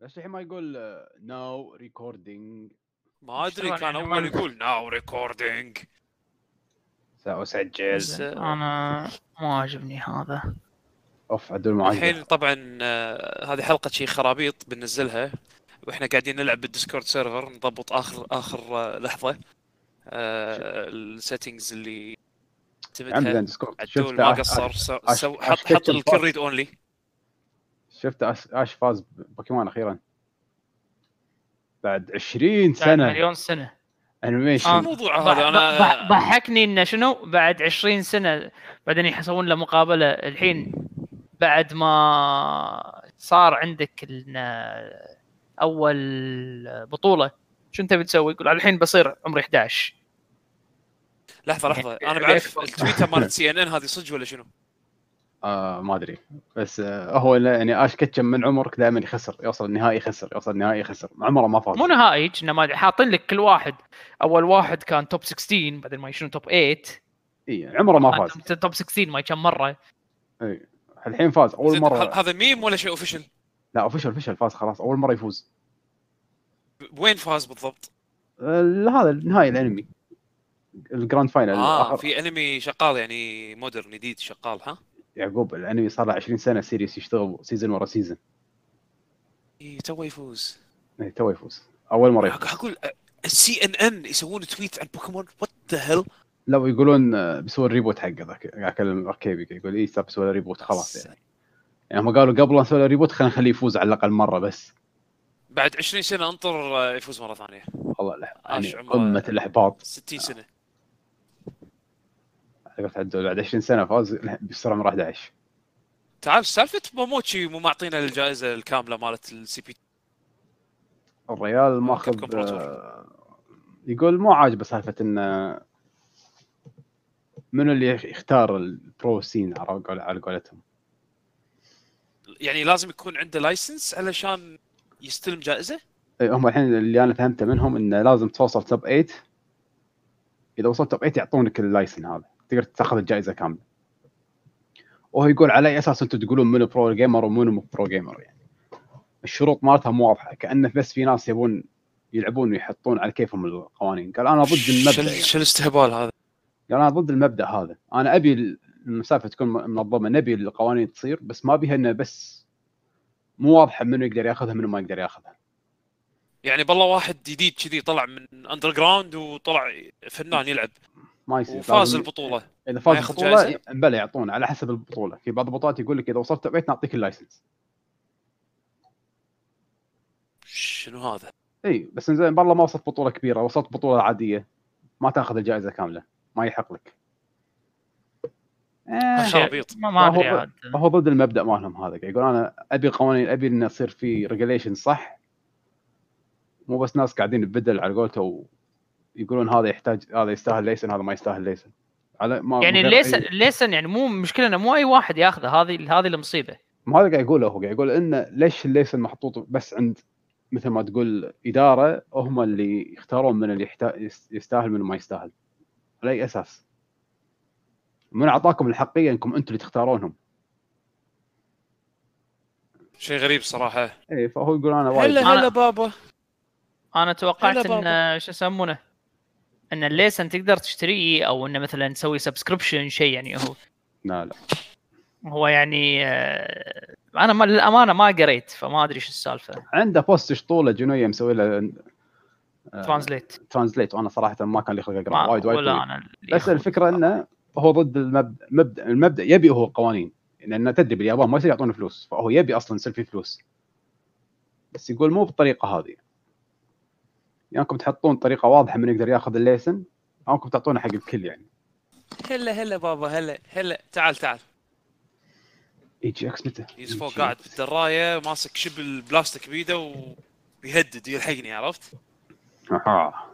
بس الحين ما يقول آه, ناو ريكوردينج ما ادري كان اشتغل يعني اول ما- يقول ناو ريكوردينج سأسجل بس- آه، انا مو عاجبني هذا اوف عدول معجب الحين طبعا آه، هذه حلقه شي خرابيط بننزلها واحنا قاعدين نلعب بالديسكورد سيرفر نضبط اخر اخر آه، لحظه آه، السيتنجز اللي عندنا تمتها ديسكورد عدول شفت ما أش- قصر سو- أش- سو- أش- حط حط كيتشن بوكس. الكريد اونلي شفت أش- اش فاز بوكيمون اخيرا بعد 20 بعد سنه مليون سنه شو آه. انيميشن الموضوع ضح- هذا ضح- انا ضحكني انه شنو بعد 20 سنه بعدين يحسون له مقابله الحين بعد ما صار عندك ال- اول بطوله شو انت بتسوي؟ يقول الحين بصير عمري 11 لحظه لحظه انا بعرف التويتر مالت سي ان ان هذه صدق ولا شنو؟ آه ما ادري بس آه هو لا- يعني اش كتشم من عمرك دائما يخسر يوصل النهائي يخسر يوصل النهائي يخسر عمره ما فاز مو نهائي كنا ما حاطين لك كل واحد اول واحد كان توب 16 بعدين ما شنو توب 8 اي عمره ما فاز أنت توب 16 ما كم مره الحين فاز اول زين، مره هذا- هذا ميم ولا شيء اوفيشل؟ لا اوفشل فشل فاز خلاص اول مره يفوز وين فاز بالضبط؟ آه، هذا النهائي الانمي الجراند فاينل اه آخر- في انمي شغال يعني مودرن جديد شغال ها؟ يعقوب الانمي صار له 20 سنه سيريس يشتغل سيزون ورا سيزون إيه، تو يفوز إيه، تو يفوز اول مره يفوز. أق- اقول السي ان ان يسوون تويت عن بوكيمون وات ذا هيل لو يقولون آه، بيسوون ريبوت حقه ذاك ذاك الاركيبي يقول اي صار بيسوي له ريبوت خلاص يعني يعني هم قالوا قبل لا نسوي له ريبوت خلينا نخليه يفوز على الاقل مره بس بعد 20 سنه انطر آه، يفوز مره ثانيه والله لا يعني آش عمره- قمه الاحباط 60 سنه على قولة عدول بعد 20 سنه فاز لا، بيصير عمره 11 تعال سالفه موموتشي مو معطينا الجائزه الكامله مالت السي بي الريال كابكوم ماخذ برو تور. آه، يقول مو عاجبه سالفه انه آه، منو اللي يختار البرو سين على قول- على قولتهم يعني لازم يكون عنده لايسنس علشان يستلم جائزه إيه، هم الحين اللي انا فهمته منهم انه لازم توصل توب 8 اذا وصلت توب 8 يعطونك اللايسن هذا تقدر تاخذ الجائزه كامله وهو يقول على اي اساس انتم تقولون منو برو جيمر ومنو مو برو جيمر يعني الشروط مالتها مو واضحه كانه بس في ناس يبون يلعبون ويحطون على كيفهم القوانين قال انا ضد شو المبدا ال- يعني. شو الاستهبال هذا قال انا ضد المبدا هذا انا ابي المسافه تكون منظمه نبي القوانين تصير بس ما بيها انه بس مو واضحه منو يقدر ياخذها منو ما يقدر ياخذها يعني بالله واحد جديد كذي طلع من اندر جراوند وطلع فنان يلعب ما يصير وفاز لازم- البطوله اذا ما فاز ياخذ البطوله جايزة؟ بلا يعطونه على حسب البطوله في بعض البطولات يقول لك اذا وصلت بيت نعطيك اللايسنس شنو هذا؟ اي بس زين والله ما وصلت بطوله كبيره وصلت بطوله عاديه ما تاخذ الجائزه كامله ما يحق لك آه، خرابيط ما ما ادري هو- عاد هو ضد المبدا مالهم هذا يقول انا ابي قوانين ابي انه يصير في ريجليشن صح مو بس ناس قاعدين ببدل على قولته ويقولون هذا يحتاج هذا يستاهل ليسن هذا ما يستاهل ليسن على ما يعني من غير الليسن آه، أي- الليسن يعني مو مشكله انه مو اي واحد ياخذه هذه هذه المصيبه ما هذا قاعد يقوله هو قاعد يقول انه ليش الليسن محطوط بس عند مثل ما تقول اداره هم اللي يختارون من اللي يحتا... يس- يستاهل من ما يستاهل على اي اساس؟ من اعطاكم الحقيه انكم انتم اللي تختارونهم شيء غريب صراحه اي إيه، فهو يقول انا وايد هلا هلا بابا انا هلا توقعت بابا. ان شو يسمونه ان الليسن تقدر تشتريه او انه مثلا تسوي سبسكريبشن شيء يعني هو لا لا هو يعني آه، انا ما للامانه ما قريت فما ادري شو السالفه عنده بوست شطوله جنويه مسوي له آه، ترانزليت ترانزليت وانا صراحه ما كان لي خلق ما اقرا وايد وايد ولا طويل. انا اللي بس ياخذ. الفكره انه هو ضد المبدا المبدا, المبدأ يبي هو قوانين لان تدري باليابان ما يصير يعطون فلوس فهو يبي اصلا يصير في فلوس بس يقول مو بالطريقه هذه يا انكم تحطون طريقه واضحه من يقدر ياخذ الليسن او انكم تعطونه حق الكل يعني هلا هلا بابا هلا هلا تعال تعال اي جي اكس متى؟ يجلس فوق قاعد بالدرايه ماسك شبل بلاستيك بيده وبيهدد يلحقني عرفت؟ أها.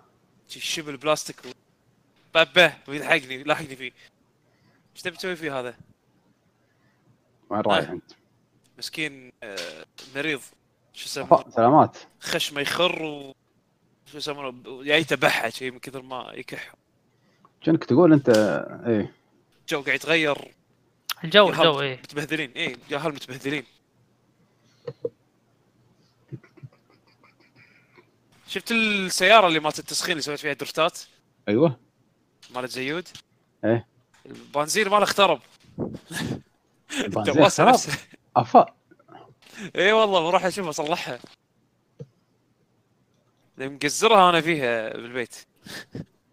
شي شبل بلاستيك و... بابه ويلحقني لاحقني فيه ايش تبي تسوي فيه هذا؟ وين رايح انت؟ مسكين آه، مريض شو اسمه أفا، سلامات خشمه يخر و شو يسمونه يعني يتبعها شيء من كثر ما يكح كأنك تقول انت ايه الجو قاعد يتغير الجو يهرب. الجو إيه. اي متبهذلين اي جهال متبهذلين شفت السياره اللي مالت التسخين اللي سويت فيها درفتات ايوه مالت زيود؟ إيه. البنزين ماله اخترب البنزين الدواسه خراب. نفسها افا اي إيه والله بروح اشوف اصلحها مقزرها انا فيها بالبيت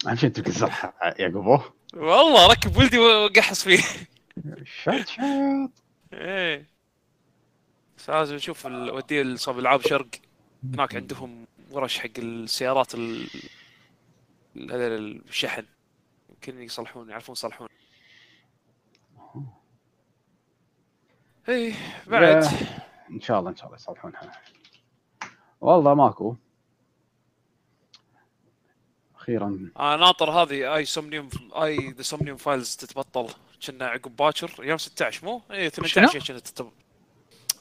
اهم شيء انت تكسرها يا قبو والله ركب ولدي وقحص فيه شات شات ايه بس لازم نشوف ال- اوديه لصوب العاب شرق هناك عندهم ورش حق السيارات ال ال- هذا الشحن يمكن يصلحون يعرفون يصلحون ايه بعد ان شاء الله ان شاء الله يصلحونها والله ماكو اخيرا انا آه، ناطر هذه اي سومنيوم اي ذا سومنيوم فايلز تتبطل كنا عقب باكر يوم 16 مو؟ اي 18 كنا تتبطل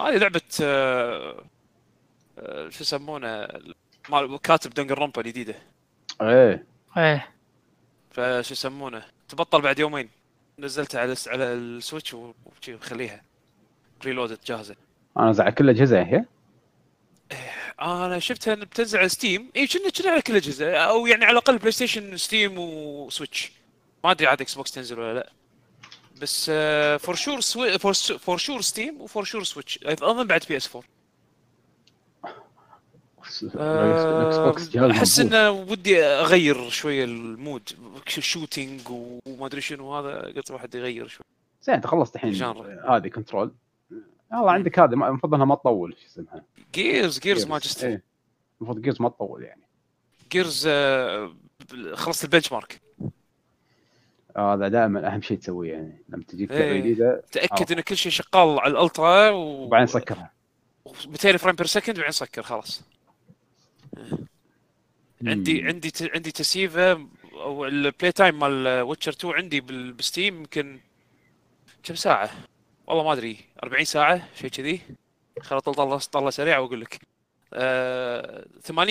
هذه لعبه آه، آه، شو يسمونه مال كاتب دنجر رومبا الجديده ايه ايه فشو يسمونه تبطل بعد يومين نزلتها على على السويتش و- وشي خليها ريلودت جاهزه انا زعل كل الاجهزه هي انا شفتها ان بتنزل على ستيم اي كنا كنا على كل الاجهزه او يعني على الاقل بلاي ستيشن ستيم وسويتش ما ادري عاد اكس بوكس تنزل ولا لا بس آه، فور شور فور شور ستيم وفور شور سويتش اظن بعد بي اس 4 الاكس آه، بوكس جهاز احس مضبوط. انه ودي اغير شويه المود شوتينج وما ادري شنو هذا قلت واحد يغير شوي زين انت خلصت الحين جانر. هذه كنترول والله عندك هذه ما- المفروض انها ما تطول شو اسمها جيرز جيرز ما جست إيه. المفروض جيرز ما تطول يعني جيرز آه، خلصت البنش مارك هذا دائما اهم شيء تسويه يعني لما تجيك لعبه إيه. جديده تاكد آه. ان كل شيء شغال على الالترا و وبعدين سكرها 200 فريم بير سكند وبعدين سكر خلاص عندي عندي ت... عندي تسييفه او البلاي تايم مال ويتشر 2 عندي بال... بالستيم يمكن كم ساعه والله ما ادري 40 ساعه شيء كذي خل اطلع طلع طلع سريع واقول لك آه... 80% من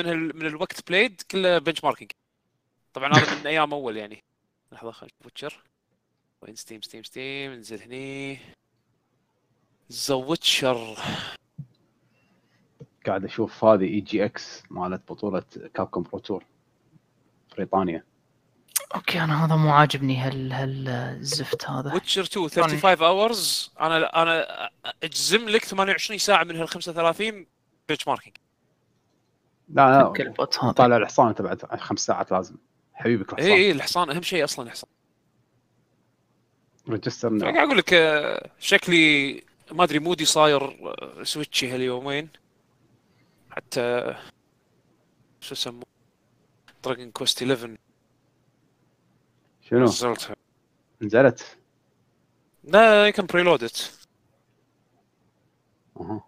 ال... من الوقت بلايد كله بنش ماركينج طبعا هذا من ايام اول يعني لحظه خلينا نشوف ويتشر وين ستيم ستيم ستيم ننزل هني ذا ويتشر قاعد اشوف هذه اي جي اكس مالت بطوله كابكوم برو تور بريطانيا اوكي انا هذا مو عاجبني هال هالزفت هذا ويتشر 2 35 اورز انا انا اجزم لك 28 ساعه من هال 35 بنش ماركينج لا فك لا البوت هذا آه، طالع الحصان انت بعد خمس ساعات لازم حبيبك اي الحصان اي إيه، الحصان اهم شيء اصلا الحصان ريجستر قاعد نعم. اقول لك آه، شكلي ما ادري مودي صاير آه، سويتشي هاليومين حتى شو يسموه دراجون كوست 11 شنو نزلتها نزلت لا يمكن بريلودت أها.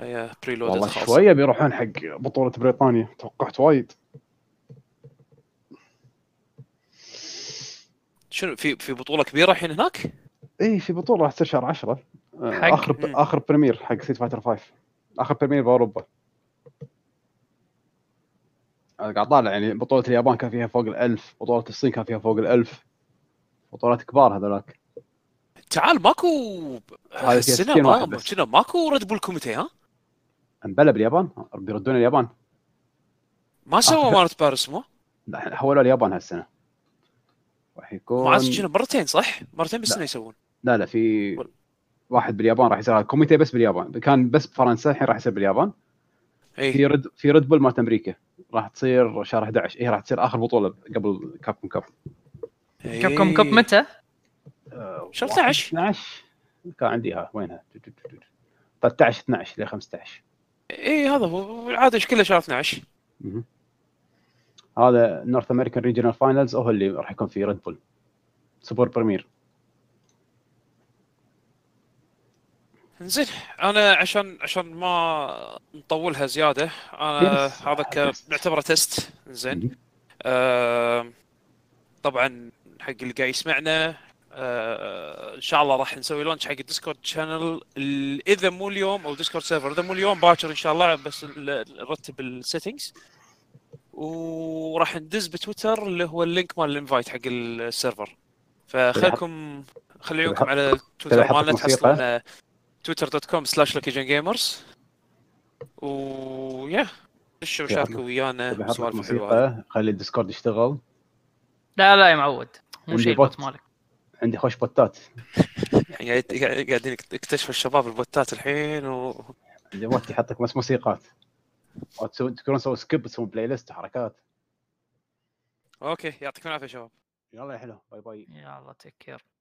هي بريلودت والله خلاص شويه بيروحون حق بطوله بريطانيا توقعت وايد شنو في في بطوله كبيره الحين هناك؟ اي إيه، في بطوله راح تصير شهر 10 حق- اخر مم. اخر بريمير حق سيت فايتر 5 اخر بريمير باوروبا أنا قاعد طالع يعني بطولة اليابان كان فيها فوق الألف بطولة الصين كان فيها فوق الألف بطولات كبار هذولاك تعال ماكو فيها السنه 60 واحد ما بس. كنا ماكو ريد بول كوميتي ها؟ امبلا باليابان بيردون اليابان ما سوى آه. مالت باريس مو؟ لا، حولوا اليابان هالسنة راح ما يكون عاد شنو مرتين صح؟ مرتين بالسنه يسوون لا لا في وال- واحد باليابان راح يصير هذا كوميتي بس باليابان كان بس بفرنسا الحين راح يصير باليابان في اي رد في ريد بول مالت امريكا راح تصير شهر 11 هي راح تصير اخر بطولة قبل كابكم كاب إيه. كب كم كب متى؟ 11 شهر 12. 12 كان عندي ها وينها 13 12 ل 15 اي إيه، هذا هو العاده كله شهر 12 مهم. هذا نورث امريكان ريجنال فاينلز هو اللي راح يكون في ريد بول سوبر بريمير آه، زين انا عشان عشان ما نطولها زياده انا Yes. هذا ك- نعتبره تيست زين مهم. آه، طبعا حق اللي قاعد يسمعنا آه، ان شاء الله راح نسوي لونش حق الديسكورد شانل ال- اذا مو اليوم او ديسكورد سيرفر اذا مو اليوم باكر ان شاء الله بس ال- نرتب السيتنجز وراح ندز بتويتر اللي هو اللينك مال الانفايت حق السيرفر فخلكم خلي عيونكم على تبي تويتر أحط مالنا موسيقى؟ تحصلون تويتر دوت كوم سلاش لوكيجن جيمرز ويا دشوا تبي أحط- وشاركوا ويانا بحط لك سوالف حلوه طيب، موسيقى خلي الديسكورد يشتغل لا لا يا معود مو عندي شيء بوت. البوت مالك عندي خوش بوتات يعني قاعد- قاعدين يكتشفوا الشباب البوتات الحين و... اللي ما يحط لك بس موسيقات وتسوي تقدرون تسوي سكيب تسوون بلاي ليست حركات اوكي يعطيكم العافيه شباب يلا يا حلو باي باي يا الله تكير